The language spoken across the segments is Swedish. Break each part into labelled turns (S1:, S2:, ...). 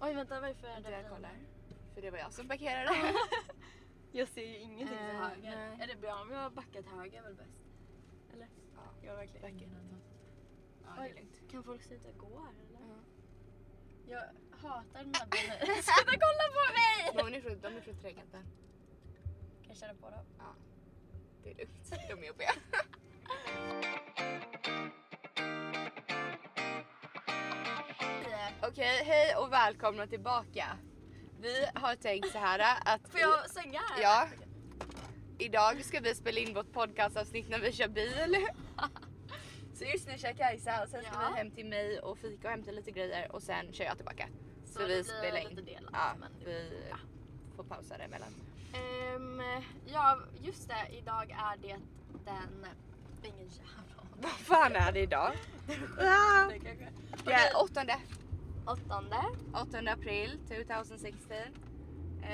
S1: Oj vänta varför är
S2: Vänta
S1: det
S2: jag kollar. För det var jag som parkerade. jag ser ju ingenting till
S1: Eh,
S2: höger.
S1: nej. Är det bra om jag har backat höger är väl bäst? Eller?
S2: Ja,
S1: Jag har verkligen
S2: Backa
S1: ingen aning.
S2: inåt. Ja, det
S1: Oj.
S2: är lugnt.
S1: Kan folk sluta gå här eller?
S2: Ja.
S1: Jag hatar den här bilen. Sluta kolla på mig!
S2: De är från, de är från Trekanten.
S1: Kan jag köra på dem?
S2: Ja. Det är lugnt. De är jobbiga. Okej, hej och välkomna tillbaka. Vi har tänkt så här att
S1: Får jag svänga här?
S2: Ja. idag ska vi spela in vårt podcastavsnitt när vi kör bil. Så just nu kör Kajsa och sen ska
S1: Ja.
S2: vi hem till mig och fika och hämta lite grejer och sen kör jag tillbaka. Så,
S1: det
S2: vi
S1: blir
S2: spelar in.
S1: lite delat,
S2: ja,
S1: men det-
S2: vi får pausa det emellan.
S1: Ehm, ja, just det. Idag är det den... Ingen jävla aning.
S2: Vad fan är det idag? Ah, det är 8,
S1: Åttonde.
S2: 8 april 2016. Eh,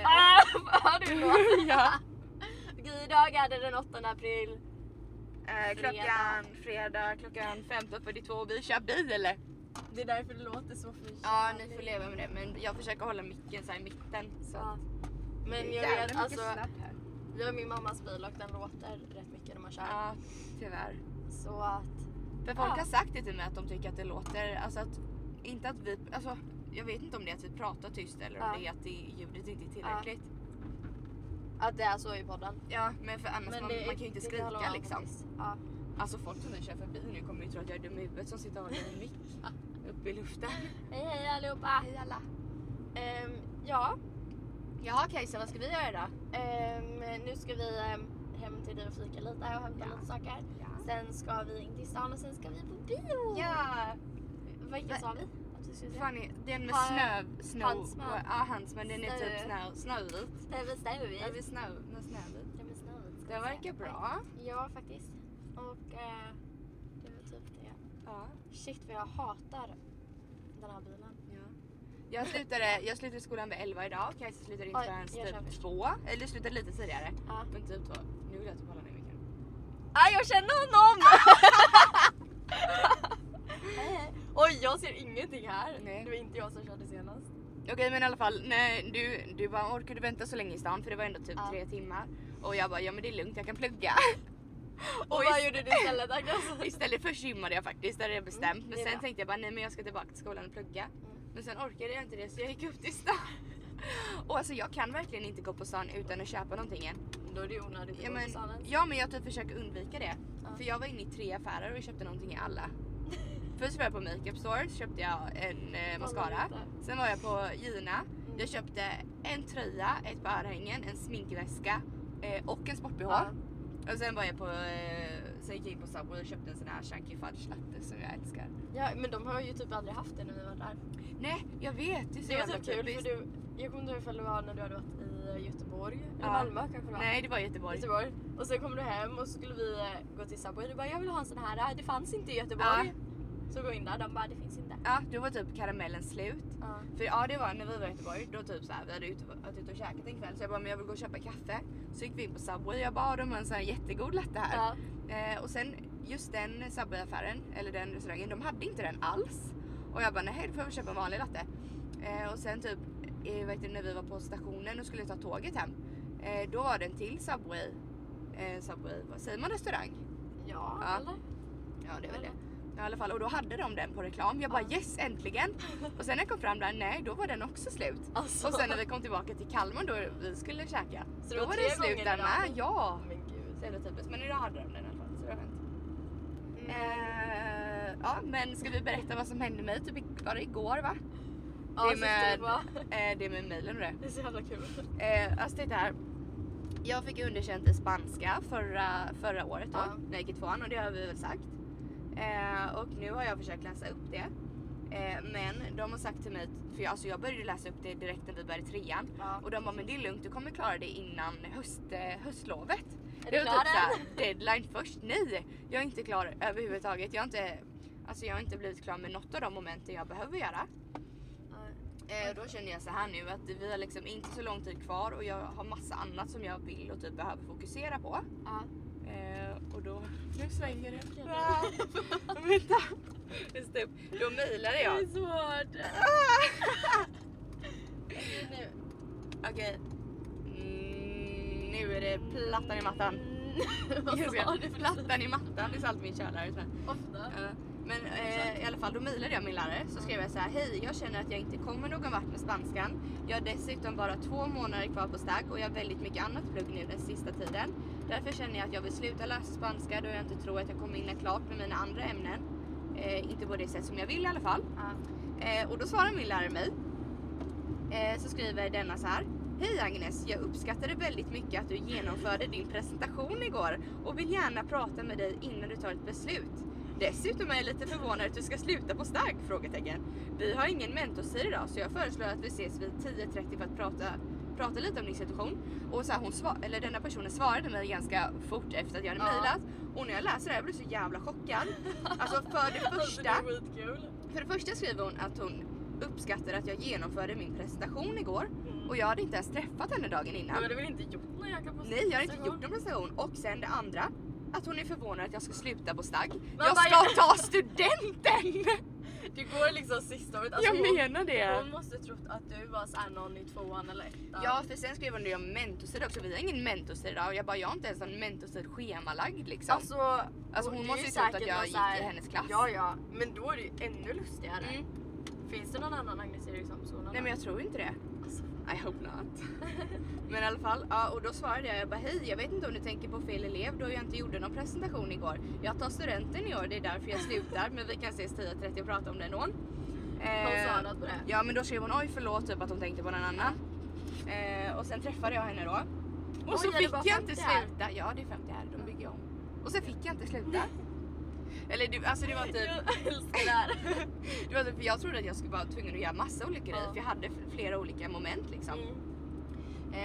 S1: Ah, Hör du då?
S2: och- ja.
S1: Okej, idag är det den 8 april.
S2: Eh, klockan fredag klockan 15.42 och vi kör bil eller?
S1: Det är därför det låter så förkylt.
S2: Ja ni får leva med det men jag försöker hålla micken så här i mitten. Så.
S1: Ja.
S2: Det är
S1: Men jag
S2: jävla
S1: vet,
S2: mycket
S1: alltså,
S2: snack här.
S1: vi har min mammas bil och den låter rätt mycket när man kör.
S2: Ja tyvärr.
S1: Så att...
S2: För folk
S1: Ja.
S2: har sagt det till mig att de tycker att det låter, alltså att inte att vi, alltså jag vet inte om det är att vi pratar tyst eller om
S1: Ja.
S2: det är att det, ljudet inte är tillräckligt.
S1: Att det är så i podden.
S2: Ja, men för annars man, man kan ju inte
S1: det håller
S2: skrika
S1: man
S2: liksom.
S1: faktiskt. Ja.
S2: Alltså folk som nu kör förbi nu kommer ju tro att jag är dum i huvudet som sitter och håller en mick uppe i luften.
S1: Hej hej allihopa!
S2: Hej alla!
S1: Ehm, ja,
S2: Jaha Kajsa, vad ska vi göra idag?
S1: ehm, nu ska vi ehm, hem till dig och fika lite och hämta
S2: Ja.
S1: lite saker. Sen ska vi in till stan och sen ska vi på bio!
S2: Ja!
S1: Vilka sa vi? Att vi skulle säga?
S2: Fanny, den med
S1: Har-
S2: snö... snö
S1: handsman.
S2: Ja handsman, den är typ
S1: Snö.
S2: snö, snövit.
S1: Nej men Snövit.
S2: Ja det är snö, den är snövit.
S1: Nej, men Snövit ska
S2: Den
S1: vi säga.
S2: verkar bra.
S1: Ja faktiskt. Och eh, det var typ det.
S2: Ja.
S1: Shit vad jag hatar den här bilen.
S2: Ja. Jag slutade, jag slutade skolan vid 11 idag. Kajsa slutade inte
S1: Oj,
S2: förrän
S1: jag kör
S2: typ
S1: först.
S2: 2. Eller slutade lite tidigare.
S1: Ja.
S2: Men typ 2. Nu vill jag typ hålla ner micken.
S1: Ah, jag känner honom! Oj jag ser ingenting här.
S2: Nej.
S1: Det var inte jag som körde senast.
S2: Okej men i alla fall, nej, du, du bara orkar du vänta så länge i stan? För det var ändå typ
S1: Ja.
S2: tre timmar. Och jag bara, ja men det är lugnt jag kan plugga.
S1: Och vad gjorde du istället Agnes?
S2: Istället först gymmade jag faktiskt, det hade jag bestämt.
S1: Mm,
S2: Men
S1: det är
S2: sen
S1: bra.
S2: tänkte jag bara nej men jag ska tillbaka till skolan och plugga.
S1: Mm.
S2: Men sen orkade jag inte det så jag gick upp till stan. Och alltså jag kan verkligen inte gå på stan utan att köpa någonting än.
S1: Då är det ju onödigt att
S2: Ja
S1: gå
S2: men,
S1: till salen.
S2: ja men jag typ försöker undvika det.
S1: Ja.
S2: För jag var inne i tre affärer och köpte någonting i alla. Först var jag på Makeup Store, så köpte jag en eh, mascara. Sen var jag på Gina.
S1: Mm.
S2: Jag köpte en tröja, ett par örhängen, en sminkväska eh, och en sport-bh.
S1: Ja.
S2: Och sen var jag på, eh, sen gick jag in på Subway och köpte en sån här chunky fudge latte som jag älskar.
S1: ja men de har ju typ aldrig haft det när vi var där.
S2: Nej jag vet, det är så
S1: Det var
S2: jävla
S1: typ kul för
S2: typiskt.
S1: du, jag kommer inte ihåg ifall det var när du hade varit i Göteborg, eller
S2: Ja.
S1: Malmö kanske det var.
S2: Nej det var Göteborg.
S1: Göteborg. Och sen kom du hem och så skulle vi eh, gå till Subway. Du bara jag vill ha en sån här, det fanns inte i Göteborg. Så gå in där, de bara det finns inte.
S2: Ja då var typ karamellen slut.
S1: Ja.
S2: För ja det var när vi var i Göteborg, då typ såhär, vi hade ute- varit ute och käkat en kväll så jag bara men jag vill gå och köpa kaffe. Så gick vi in på Subway och jag bara "Ah, de har en sån här jättegod latte här.
S1: Ja.
S2: Eh, och sen just den Subway-affären, eller den restaurangen, de hade inte den alls. Och jag bara nej då får jag väl köpa en vanlig latte. Eh, och sen typ eh, vet du, när vi var på stationen och skulle ta tåget hem. Eh, då var den till Subway. Eh, Subway, vad säger man restaurang?
S1: Ja,
S2: Ja.
S1: eller?
S2: Ja det är väl det. Ja, I alla fall, och då hade de den på reklam. Jag bara
S1: Ja.
S2: yes äntligen! Och sen när jag kom fram där, nej då var den också slut.
S1: Alltså.
S2: Och sen när vi kom tillbaka till Kalmar då vi skulle käka,
S1: Så det
S2: då
S1: var
S2: var
S1: tre
S2: det slut
S1: gånger
S2: där
S1: idag.
S2: med. Ja!
S1: Men gud.
S2: Så jävla typiskt. Men idag hade de den i alla fall, så det var skönt.
S1: Mm.
S2: Eh, ja, men ska vi berätta vad som hände mig? Typ i- var det igår va?
S1: Ja,
S2: det
S1: så
S2: med-
S1: stod det bara.
S2: Eh, det med mejlen och det.
S1: Det är så jävla kul.
S2: Eh, alltså titta här. Jag fick underkänt i spanska förra, förra året då,
S1: Ja.
S2: när jag gick i tvåan och det har vi väl sagt. Eh, och nu har jag försökt läsa upp det. Eh, men de har sagt till mig, för jag, alltså jag började läsa upp det direkt när vi började trean.
S1: Ja.
S2: Och de bara, men det är lugnt, du kommer klara det innan höst, eh, höstlovet.
S1: Är
S2: Det
S1: du
S2: var
S1: klar
S2: typ såhär,
S1: än?
S2: deadline först. Nej! Jag är inte klar överhuvudtaget. Jag har inte, alltså jag har inte blivit klar med något av de momenten jag behöver göra. Eh, då känner jag så här nu att vi har liksom inte så lång tid kvar och jag har massa annat som jag vill och typ behöver fokusera på.
S1: Ja.
S2: Eh, och då... Nu svänger det.
S1: Okej.
S2: Ah, Vänta! Just det. Då mejlade
S1: Det
S2: jag.
S1: är svårt. Okej.
S2: Mm, nu är det plattan i mattan.
S1: Mm. Vad
S2: Jag
S1: sa du
S2: vet,
S1: för något?
S2: plattan i mattan, det är så allt min kärlärare säger.
S1: Ofta.
S2: Ja. Men eh, i alla fall, då mejlade jag min lärare så skrev jag så här. Hej, jag känner att jag inte kommer någon vart med spanskan. Jag har dessutom bara två månader kvar på STAG och jag har väldigt mycket annat plugg nu den sista tiden. Därför känner jag att jag vill sluta läsa spanska då jag inte tror att jag kommer hinna klart med mina andra ämnen. Eh, inte på det sätt som jag vill i alla fall.
S1: Ja.
S2: Eh, och då svarar min lärare mig. Eh, så skriver denna så här. Hej Agnes, jag uppskattade väldigt mycket att du genomförde din presentation igår och vill gärna prata med dig innan du tar ett beslut. Dessutom är jag lite förvånad att du ska sluta på stark? Frågetecken. Vi har ingen mentorstid idag så jag föreslår att vi ses vid 10.30 för att prata, prata lite om din situation. Och så här, hon svar, eller denna personen svarade mig ganska fort efter att jag hade
S1: Ja.
S2: mejlat och när jag läser det här blir jag så jävla chockad. Alltså för det
S1: Alltså,
S2: första
S1: det är skitkul.
S2: för det första skriver hon att hon uppskattar att jag genomförde min presentation igår
S1: Mm.
S2: och jag hade inte ens träffat henne dagen
S1: Men
S2: innan.
S1: du hade väl inte gjort någon jäkla Alltså,
S2: Nej, jag har inte gjort någon presentation. Och sen det andra, att hon är förvånad att jag ska sluta på stagg.
S1: Man
S2: Jag
S1: bara,
S2: ska ta studenten!
S1: Det går liksom sista året. Alltså,
S2: Jag menar
S1: hon,
S2: det.
S1: hon måste trott att du var såhär någon i tvåan eller ettan.
S2: Ja, för sen skrev hon det om mentorstid också. Vi har ingen mentorstid idag och jag bara, jag har inte ens någon mentorstid schemalagd liksom. Alltså,
S1: Alltså,
S2: hon
S1: det är
S2: måste
S1: ju
S2: ju trott att
S1: säkert
S2: jag
S1: någon
S2: gick
S1: så här-
S2: i hennes klass.
S1: Ja, ja. Men då är det ju ännu lustigare.
S2: Mm.
S1: Finns det någon annan Agnes Eriksson?
S2: Nej men jag tror inte det.
S1: Alltså.
S2: I hope not. Men i alla fall, ja, och då svarade jag, jag bara hej, jag vet inte om du tänker på fel elev då jag inte gjorde någon presentation igår. Jag tar studenten i år, det är därför jag slutar men vi kan ses 10.30 och prata om det ändå.
S1: Hon
S2: Eh,
S1: sa något på det.
S2: Ja men då skrev hon oj förlåt typ att hon tänkte på någon annan. Eh, och sen träffade jag henne då. Och
S1: Oj,
S2: så
S1: är det
S2: fick
S1: bara
S2: jag inte
S1: 50 här?
S2: sluta. Ja det är 50 här, de
S1: Ja.
S2: bygger om. Och sen fick jag inte sluta. Eller det, alltså det var typ
S1: Jag älskar det här.
S2: det var typ, för jag trodde att jag skulle vara tvungen att göra massa olika grejer
S1: Ja.
S2: för jag hade flera olika moment liksom.
S1: Mm.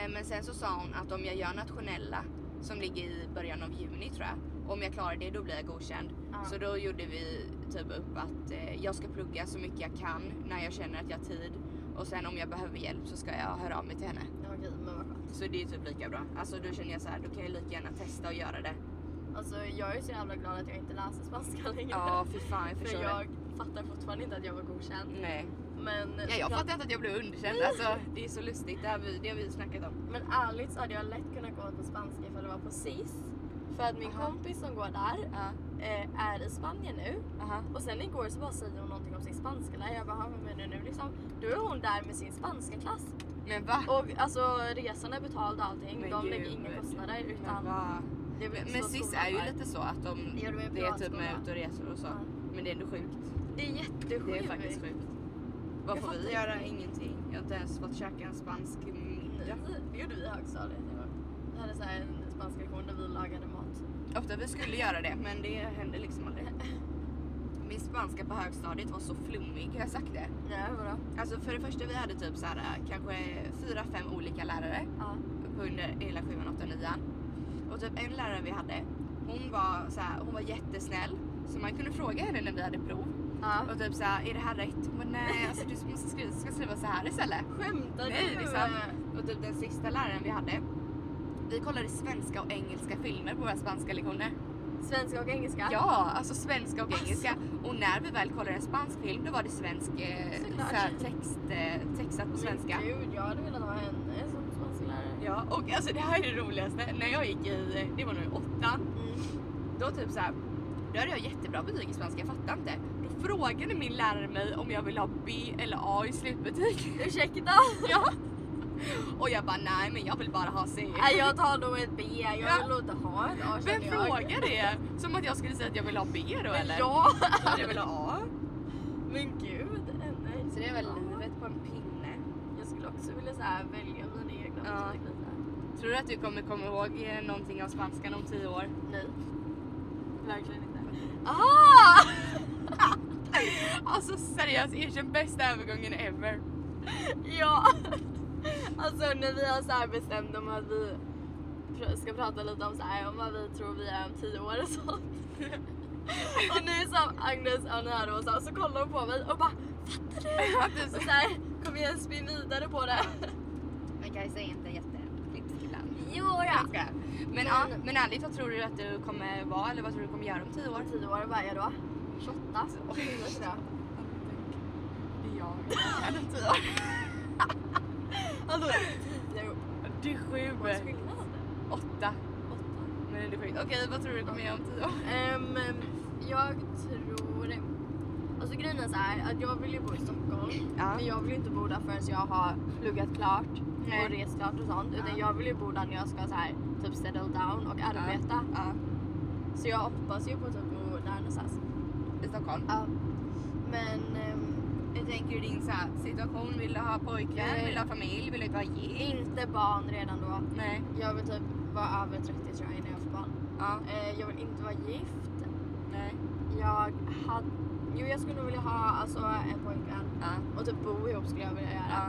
S2: Eh, Men sen så sa hon att om jag gör nationella som ligger i början av juni tror jag. Om jag klarar det då blir jag godkänd.
S1: Ja.
S2: Så då gjorde vi typ upp att eh, jag ska plugga så mycket jag kan när jag känner att jag har tid. Och sen om jag behöver hjälp så ska jag höra av mig till henne.
S1: Ja, Okej, men vad skönt.
S2: Så det är ju typ lika bra. Alltså då känner jag så här, då kan jag lika gärna testa och göra det.
S1: Alltså jag är så jävla glad att jag inte läser spanska längre.
S2: Ja fy fan jag
S1: För
S2: förstår det.
S1: jag fattar fortfarande inte att jag var godkänd.
S2: Nej.
S1: Men,
S2: Ja, jag
S1: såklart-
S2: fattar inte att jag blev underkänd. Alltså, det är så lustigt, det har vi, det har vi snackat om.
S1: men ärligt så hade jag lätt kunnat gå på spanska ifall det var på SIS. För att min
S2: Aha.
S1: kompis som går där
S2: Ja,
S1: eh, är i Spanien nu.
S2: aha.
S1: Och sen igår så bara säger hon någonting om sin spanska lärare. Jag bara, "Ha, vad menar du nu liksom? Då är hon där med sin spanska klass.
S2: Men va?
S1: Och alltså resan är betald och allting.
S2: Men
S1: de
S2: gud.
S1: lägger inga kostnader
S2: Men
S1: utan
S2: va?
S1: det blir
S2: Men
S1: så
S2: SIS
S1: skolan
S2: är ju
S1: där.
S2: lite så att de
S1: Ja, de är en
S2: Det är typ
S1: privatskola.
S2: med ut och resor och så.
S1: Ja.
S2: Men det är ändå sjukt.
S1: Det är jättesjukt.
S2: Det är faktiskt sjukt. Vad
S1: Jag
S2: får vi
S1: fattar
S2: göra? Ingenting. Jag har inte ens fått käka en spansk middag.
S1: Det gjorde vi i högstadiet. en gång. Vi hade så här en spansk lektion där vi lagade mat.
S2: Ofta vi skulle göra det men det hände liksom aldrig. Min spanska på högstadiet var så flummig, har jag sagt det?
S1: Nej, vadå?
S2: Alltså för det första vi hade typ så här, kanske fyra, fem olika lärare
S1: Ja.
S2: på under hela sjuan, åttan, nian. Och typ en lärare vi hade, hon var, så här, hon var jättesnäll. Så man kunde fråga henne när vi hade prov.
S1: ja.
S2: Och typ såhär, är det här rätt? Hon bara, nej alltså du måste skriva, ska skriva så här istället.
S1: Skämtar
S2: Nej,
S1: du?
S2: det är sant. Och typ den sista läraren vi hade, vi kollade svenska och engelska filmer på våra spanska lektioner.
S1: Svenska och engelska?
S2: Ja, alltså svenska och engelska.
S1: Alltså.
S2: Och när vi väl kollade en spansk film då var det svensk eh,
S1: Såklart.
S2: så här, text, eh, textat på
S1: Men
S2: svenska.
S1: Gud, jag hade velat ha henne som spansk lärare.
S2: Ja, och alltså det här är det roligaste. När jag gick i, eh, det var nog i åttan,
S1: Mm.
S2: då typ så här, då hade jag jättebra betyg i svenska, jag fattar inte. Då frågade min lärare mig om jag ville ha B eller A i slutbetyg.
S1: Mm. Ursäkta?
S2: Ja. Och jag bara nej men jag vill bara ha C.
S1: Nej, jag tar nog ett B.
S2: Ja.
S1: Jag vill nog inte ha ett A
S2: Vem
S1: känner jag.
S2: frågar det? Som att jag skulle säga att jag vill ha B då
S1: Men
S2: eller?
S1: ja!
S2: Klart jag vill ha A.
S1: Men gud, nej.
S2: Så det är väl
S1: Ja.
S2: livet på en pinne.
S1: Jag skulle också vilja så här, välja mina egna
S2: Ja.
S1: betyg lite.
S2: Tror du att du kommer komma ihåg eh, någonting av spanskan om tio år?
S1: Nej. Verkligen inte. Aha!
S2: Alltså seriöst, erkänn bästa övergången ever.
S1: Ja. Alltså när vi har så här bestämt om att vi pr- ska prata lite om så här, om vad vi tror vi är om tio år och sånt. Och nu som Agnes och Nero och så, så kollar hon på mig och bara Fattar du? Och så här, kom igen spinn vidare på det.
S2: Men kanske inte jätteklipskt ibland.
S1: Jodå.
S2: Men, ja, men ärligt, vad tror du att du kommer vara eller vad tror du kommer göra om tio år?
S1: Om tio år, vad är jag då? 28? Tio, tror jag.
S2: Det är jag. Om tio år.
S1: Alltså tio 47.
S2: Vad skulle Åtta. Men det är sjukt. Okej, vad tror du kommer göra om tio år?
S1: Ehm, jag tror... Alltså grejen är så här, att jag vill ju bo i Stockholm.
S2: Ja.
S1: Men jag vill ju inte bo där förrän jag har pluggat klart
S2: Nej.
S1: och rest klart och sånt. Utan
S2: Ja.
S1: jag vill ju bo där när jag ska så här, typ settle down och arbeta.
S2: Ja.
S1: Så jag hoppas ju på typ att bo där någonstans.
S2: I Stockholm.
S1: Ja. Men ehm,
S2: Hur tänker du din så här, situation? Vill du ha pojkvän?
S1: Nej.
S2: Vill du ha familj? Vill du vara gift?
S1: inte barn redan då.
S2: Nej.
S1: Jag vill typ vara över 30 tror jag innan jag får barn.
S2: Ja.
S1: Eh, jag vill inte vara gift.
S2: Nej.
S1: Jag hade... Jo, jag skulle nog vilja ha alltså, en pojkvän.
S2: Ja.
S1: Och typ bo ihop skulle jag vilja göra.
S2: ja.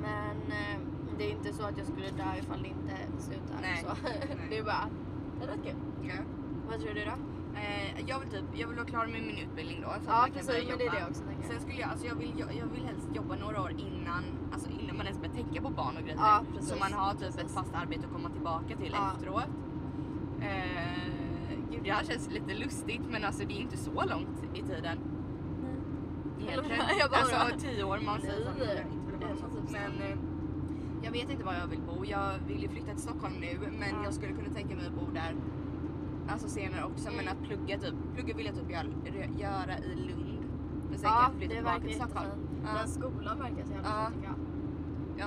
S1: Men eh, det är inte så att jag skulle dö ifall det inte slutar.
S2: Nej.
S1: Så.
S2: Nej.
S1: Det är bara, det är rätt kul.
S2: Ja.
S1: Vad tror du då?
S2: Eh, jag vill typ, jag vill vara klar med min utbildning då. Så att
S1: Ja
S2: jag kan
S1: precis,
S2: börja
S1: men det är
S2: jobba.
S1: det också tänker jag.
S2: Sen skulle jag, alltså jag vill, jag, jag vill helst jobba några år innan, alltså innan man ens börjar tänka på barn och grejer.
S1: Ja, precis.
S2: så man har typ ett fast arbete att komma tillbaka till
S1: Ja.
S2: efteråt. Eh, gud det här känns lite lustigt men alltså det är inte så långt i tiden. Egentligen.
S1: Mm. Jag bara-
S2: alltså tio år man
S1: Nej,
S2: säger sånt. Jag inte vill
S1: det
S2: vara
S1: känns
S2: sån.
S1: typ så.
S2: Men eh, jag vet inte var jag vill bo. Jag vill ju flytta till Stockholm nu men
S1: Ja.
S2: jag skulle kunna tänka mig att bo där Alltså senare också men
S1: Mm.
S2: att plugga typ, plugga vill jag typ göra, göra i Lund. Men sen
S1: Ja,
S2: kan jag flytta
S1: det
S2: tillbaka
S1: verkar
S2: till Stockholm.
S1: jättefint.
S2: Ja.
S1: Den skolan verkar så jävla
S2: Ja.
S1: fin tycker jag.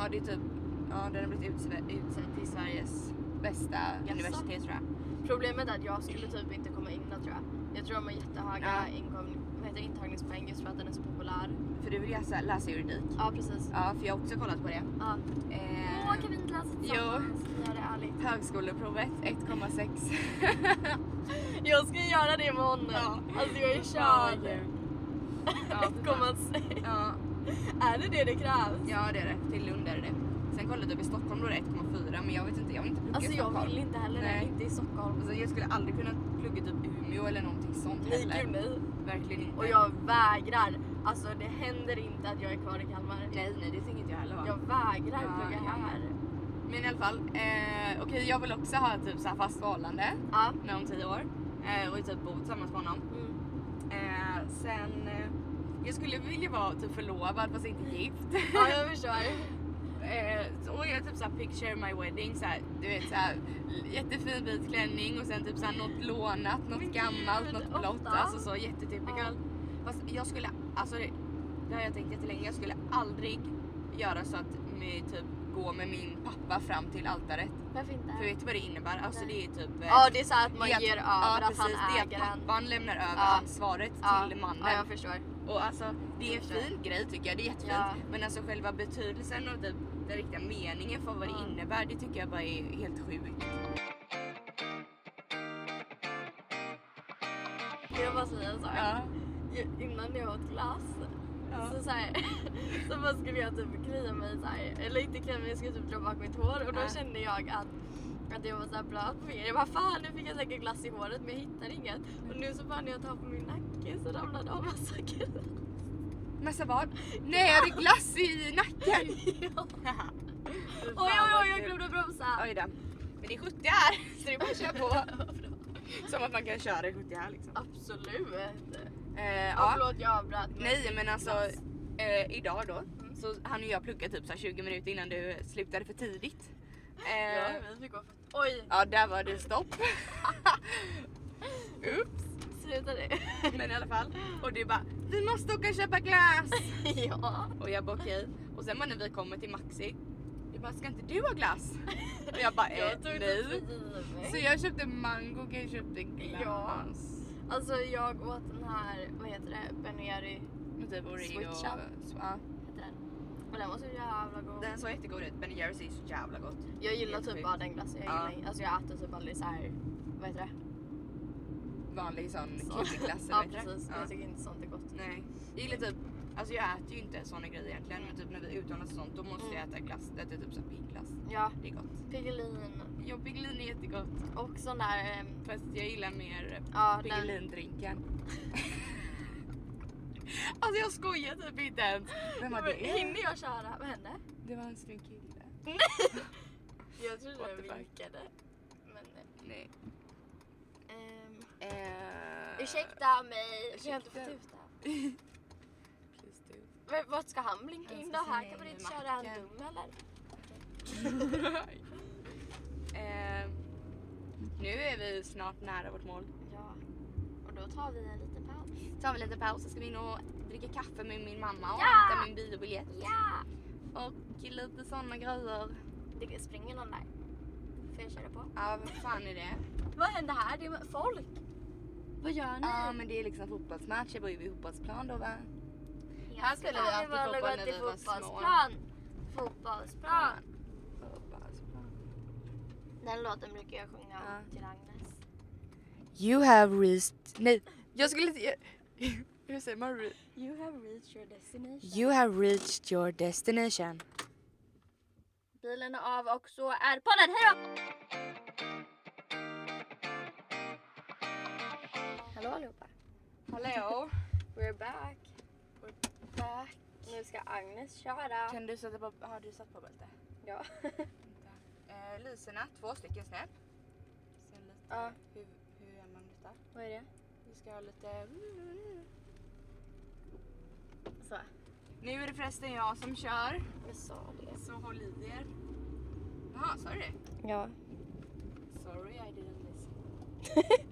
S2: Ja, det är typ, ja den har blivit utsedd, utsedd till Sveriges bästa
S1: Jaså?
S2: universitet tror jag.
S1: Problemet är att jag skulle typ inte komma in där tror jag. Jag tror de har jättehöga
S2: Ja.
S1: inkom- vad heter det, intagningspoäng just för att den är så populär.
S2: För du vill läsa, läsa juridik?
S1: Ja precis.
S2: Ja, för jag har också kollat på det.
S1: Ja.
S2: Eh,
S1: Åh, kan vi inte läsa tillsammans? Jo. Gör det ärligt.
S2: Högskoleprovet 1,6.
S1: Jag ska göra det imorgon.
S2: Ja.
S1: Alltså jag är
S2: Ja,
S1: körd.
S2: gud. Ja, fy fan.
S1: 1,6.
S2: ja,
S1: Är det det det krävs?
S2: ja, det är det. Till Lund är det det. Sen kollade jag upp i Stockholm då är det 1,4 men jag vet inte, jag vill inte plugga
S1: Alltså
S2: i
S1: jag
S2: Stockholm.
S1: vill inte heller det.
S2: Nej.
S1: Inte i Stockholm.
S2: Alltså, jag skulle aldrig kunna plugga typ Umeå eller någonting sånt
S1: Nej
S2: heller.
S1: gud nej.
S2: Verkligen inte.
S1: Och jag vägrar. Alltså det händer inte att jag är kvar i Kalmar.
S2: Nej, nej det tänker inte jag heller va.
S1: Jag vägrar
S2: Ja,
S1: plugga
S2: ja.
S1: här.
S2: Men i alla fall, eh, okej jag vill också ha typ så här fast förhållande.
S1: Ja.
S2: när om tio år eh, och typ bo tillsammans med honom.
S1: Mm.
S2: Eh, sen, eh, jag skulle vilja vara typ förlovad fast inte gift.
S1: Ja jag förstår.
S2: eh, så- och jag typ såhär picture my wedding såhär, du vet såhär jättefin vit klänning och sen typ såhär något lånat, något
S1: Men
S2: gammalt,
S1: gud,
S2: något blått.
S1: ofta.
S2: Alltså så jättetypical. Fast jag skulle, alltså det, det har jag tänkt jättelänge, jag skulle aldrig göra så att med, typ gå med min pappa fram till altaret.
S1: Varför inte?
S2: För vet du vad det innebär? Alltså
S1: Nej.
S2: det är typ... eh,
S1: Ja det är så här att man
S2: det är
S1: ger över
S2: ja,
S1: att han
S2: precis, det
S1: äger
S2: är att
S1: den.
S2: pappan lämnar över
S1: Ja.
S2: ansvaret till mannen.
S1: Ja jag förstår.
S2: Och alltså det är en
S1: Jag förstår.
S2: fin grej tycker jag, det är jättefint.
S1: Ja.
S2: Men alltså själva betydelsen och typ den riktiga meningen för vad
S1: Ja.
S2: det innebär, det tycker jag bara är helt sjukt.
S1: Kan jag bara säga en sak? Ju- Innan jag åt glass
S2: Ja.
S1: så, så, här, så bara skulle jag typ klia mig så här, eller inte klia mig, jag skulle typ dra bak mitt hår och då
S2: Ja.
S1: kände jag att att jag var såhär blöt på fingret. Jag bara fan nu fick jag säkert glass i håret men jag hittar inget. Och nu så bara när jag tar på min nacke så ramlar det av massa glass.
S2: Massa vad? Nej jag hade glass i nacken!
S1: Ja.
S2: Fy fan,
S1: Oj oj
S2: vad
S1: oj jag
S2: kul.
S1: glömde bromsa.
S2: typ- Oj då. Men det är 70 här så det är bara att köra på. Som att man kan köra i 70 här liksom.
S1: Absolut.
S2: Eh,
S1: Ja.
S2: ja.
S1: Förlåt jag avbröt. men-
S2: Nej men alltså
S1: Glass. Mm.
S2: eh, idag då så hann ju jag plugga typ så här 20 minuter innan du slutade för tidigt. Eh,
S1: Ja, vi fick gå för... Oj,
S2: Ja, där var det stopp. Oops.
S1: sluta det.
S2: Men i alla fall. Och du bara, vi måste åka och köpa glass.
S1: ja.
S2: Och jag bara okej. Och sen bara när vi kommer till Maxi. Du bara, ska inte du ha glass? Och jag bara, eh,
S1: Jag tog inte
S2: nej.
S1: tid
S2: Så
S1: mig.
S2: jag köpte mango och jag köpte
S1: Ja.
S2: glass.
S1: Alltså jag åt den här, vad heter det, Ben Jerry.
S2: Med typ oreo.
S1: Switcha.
S2: så- Ja.
S1: Heter den. Och den var så jävla god.
S2: Den såg jättegod ut. Ben Jerrys är så jävla gott.
S1: Jag gillar
S2: helt
S1: typ
S2: sjukt.
S1: bara den glassen. Jag,
S2: Ja.
S1: gillar, alltså jag äter typ aldrig så här, vad heter det?
S2: Vanlig sån
S1: Så-
S2: kiddie-glass
S1: Ja
S2: eller vad heter det?
S1: precis,
S2: Ja.
S1: jag tycker inte sånt är gott.
S2: Nej. Jag gillar typ, alltså jag äter ju inte såna grejer egentligen men typ när vi är utomlands och sånt då måste jag äta glass. Jag äter typ såhär pingglass.
S1: Ja,
S2: Det är gott.
S1: Piggelin
S2: Ja, Piggelin är jättegott.
S1: och sån där, ehm,
S2: Fast jag gillar mer
S1: ja den.
S2: Piggelindrinken. alltså jag skojar typ inte ens. Vem var
S1: Men
S2: det?
S1: Hinner jag köra? Vad hände?
S2: Det var en snygg kille.
S1: Jag trodde
S2: What
S1: jag
S2: the fuck?
S1: vinkade. Men,
S2: Nej.
S1: ehm,
S2: Eh,
S1: ursäkta mig, kan jag inte få
S2: ursäkta.
S1: tuta?
S2: Please do.
S1: Men vart ska han blinka
S2: Han
S1: in
S2: ska
S1: då?
S2: se
S1: Här
S2: mig
S1: kan man
S2: i
S1: inte köra en
S2: macken.
S1: dum eller?
S2: eh, nu är vi snart nära vårt mål.
S1: Ja. Och då tar vi en liten paus.
S2: Tar vi lite paus, så ska vi in och dricka kaffe med min mamma och
S1: Ja!
S2: hämta min biobiljett.
S1: Ja!
S2: Och lite sådana grejer.
S1: Det springer någon där. Får jag köra på?
S2: Ja, vad fan är det?
S1: Vad händer här? Det är folk. Vad gör ni?
S2: Ja, men det är liksom fotbollsmatch. Jag bor ju vid fotbollsplan då va? här spelar vi alltid fotboll när vi var små.
S1: fotbollsplan. Fotbollsplan.
S2: Fotbollsplan.
S1: Den låten brukar jag sjunga
S2: Ja.
S1: till Agnes.
S2: You have reached... Nej, jag skulle inte... jag- Hur säger man? re-
S1: You have reached your destination.
S2: You have reached your destination.
S1: Bilen är av och så är podden. Hej då! Hallå allihopa.
S2: Hallå?
S1: We're back. Nu ska Agnes köra.
S2: Kan du sätta på... Har du satt på bälte?
S1: Ja.
S2: Eh, lyserna, två stycken snäpp. Sen lite...
S1: Ja.
S2: Hur, hur gör man detta?
S1: Vad är det?
S2: Vi ska ha lite...
S1: Så.
S2: Nu är det förresten Alltså, jag som kör.
S1: Jag sa det.
S2: Så håll i er. Jaha, sa du det?
S1: Ja.
S2: Sorry I didn't listen.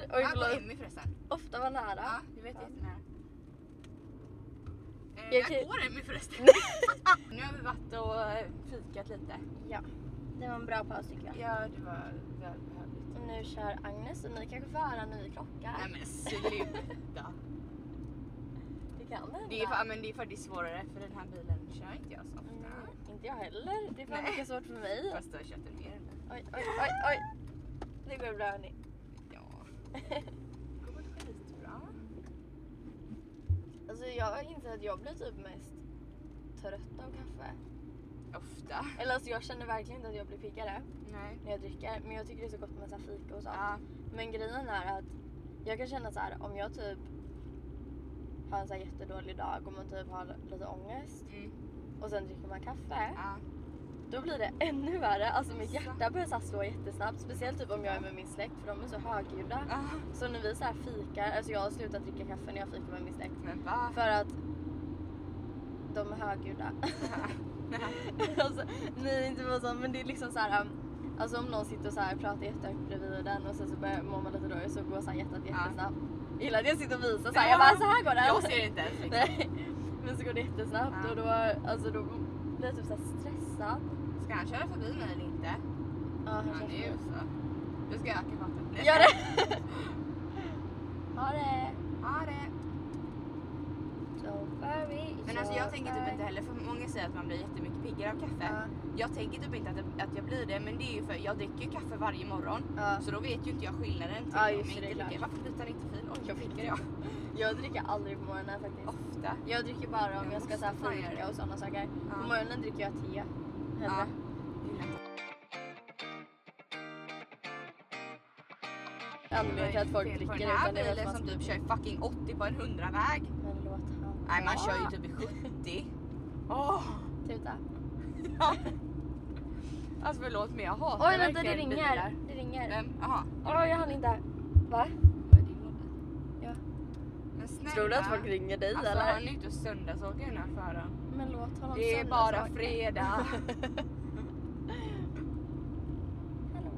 S1: Oj
S2: Ja, på
S1: förlåt.
S2: Emmy förresten.
S1: Ofta var nära.
S2: Ja, du vet
S1: Ja.
S2: jättenära. Eh,
S1: Jag
S2: jag
S1: kan-
S2: går Emmy förresten. nu har vi varit och eh, fikat lite.
S1: Ja. Det var en bra paus tycker jag.
S2: Ja, det var välbehövligt.
S1: Och nu kör Agnes och ni kanske får höra en ny klocka.
S2: Nej men sluta.
S1: Det kan hända.
S2: Det är, för, men det är faktiskt svårare för den här bilen kör inte jag så ofta.
S1: Mm, inte jag heller. Det är fan
S2: Nej.
S1: lika svårt för mig.
S2: Fast du har kört den mer än mig.
S1: Oj, oj, oj, oj. Det går bra hörni.
S2: Ja. Det går skitbra.
S1: Alltså jag inser att jag blir typ mest trött av kaffe.
S2: Ofta.
S1: Eller alltså jag känner verkligen inte att jag blir piggare
S2: Nej.
S1: när jag dricker. Men jag tycker det är så gott med så här fika och sånt.
S2: Ja.
S1: Men grejen är att jag kan känna så här om jag typ har en så här jättedålig dag och man typ har lite ångest
S2: Mm.
S1: och sen dricker man kaffe.
S2: Ja.
S1: Då blir det ännu värre. Alltså mitt
S2: Exakt.
S1: hjärta börjar så här slå jättesnabbt. Speciellt typ om jag är med min släkt för de är så högljudda.
S2: Ja.
S1: Så när vi så här fikar, alltså jag har slutat dricka kaffe när jag fikar med min släkt.
S2: Men va?
S1: För att de är högljudda. alltså, ni är inte bara så, men det är liksom så här. um, Alltså om någon sitter och så här pratar jättehögt bredvid den och sen så börjar mår man lite dåligt så går så här hjärtat jättesnabbt. Jag gillar att jag sitter och visar så här, jag bara så här går det.
S2: Jag ser inte ens liksom.
S1: Nej. Men så går det jättesnabbt
S2: Ja.
S1: och då, alltså, då blir jag typ så här stressad.
S2: Ska han köra förbi mig eller inte?
S1: Ja, han
S2: Han
S1: känns
S2: är ju
S1: bra.
S2: så. Du ska jag öka farten.
S1: Gör det! ha det!
S2: Ja det. är.
S1: Don't worry,
S2: Men alltså jag tänker typ inte heller, för många säger att man blir jättemycket piggare av kaffe.
S1: Ja,
S2: Jag tänker typ inte att, det- att jag blir det, men det är ju för jag dricker ju kaffe varje morgon.
S1: ja.
S2: Så då vet ju inte jag skillnaden till
S1: Ja,
S2: om jag
S1: just det,
S2: inte
S1: det är
S2: dricker.
S1: klart.
S2: Varför byter han inte fil? Oj,
S1: Jag
S2: jag
S1: vet
S2: dricker jag.
S1: Jag dricker aldrig på morgonen faktiskt.
S2: Ofta.
S1: Jag dricker bara om
S2: Jag
S1: jag ska så här
S2: måste fan göra
S1: fika
S2: det.
S1: och sådana saker.
S2: Ja.
S1: På morgonen dricker jag te.
S2: Ja.
S1: Hellre. Anledningen till att folk
S2: Fel på
S1: dricker
S2: den här
S1: utan det är väl
S2: bilen
S1: att
S2: som
S1: man...
S2: typ kör fucking 80 på en 100-väg.
S1: Men låt han
S2: Nej man
S1: vara.
S2: kör ju typ i 70. Åh!
S1: Tuta.
S2: Alltså förlåt men jag hatar
S1: Oj vänta det
S2: verkligen
S1: ringer.
S2: bilar.
S1: Det ringer.
S2: Vem? Jaha.
S1: Oj jag hann inte. Va?
S2: Det är din mobil.
S1: Ja.
S2: Men snälla.
S1: Tror du att folk ringer dig
S2: Alltså han
S1: eller?
S2: är ute och söndagsåker den här föraren.
S1: Men låt honom
S2: Det är
S1: sända
S2: bara
S1: saker.
S2: fredag.
S1: Hallå.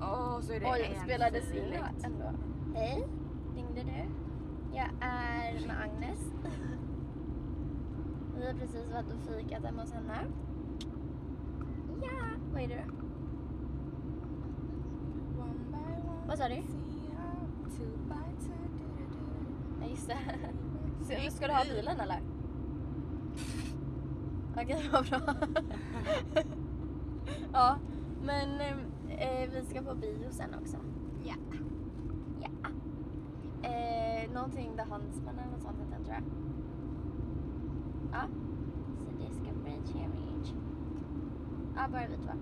S2: Åh så är det
S1: Oj,
S2: en
S1: spelades in
S2: fil.
S1: ändå. Hej, ringde du? Jag är med Agnes. Vi har precis varit och fikat hemma hos henne. Ja, vad är det då?
S2: One by one,
S1: Vad sa du?
S2: two by two, du-du-du.
S1: Nej, just det. Ska, ska du ha bilen eller? Okej, vad bra. ja, men eh, vi ska på bio sen också.
S2: Ja.
S1: Ja. Eh, någonting The Huntsman eller något sånt heter den tror jag. Ja. Så det ska bli trevligt. Ja, bara vi två.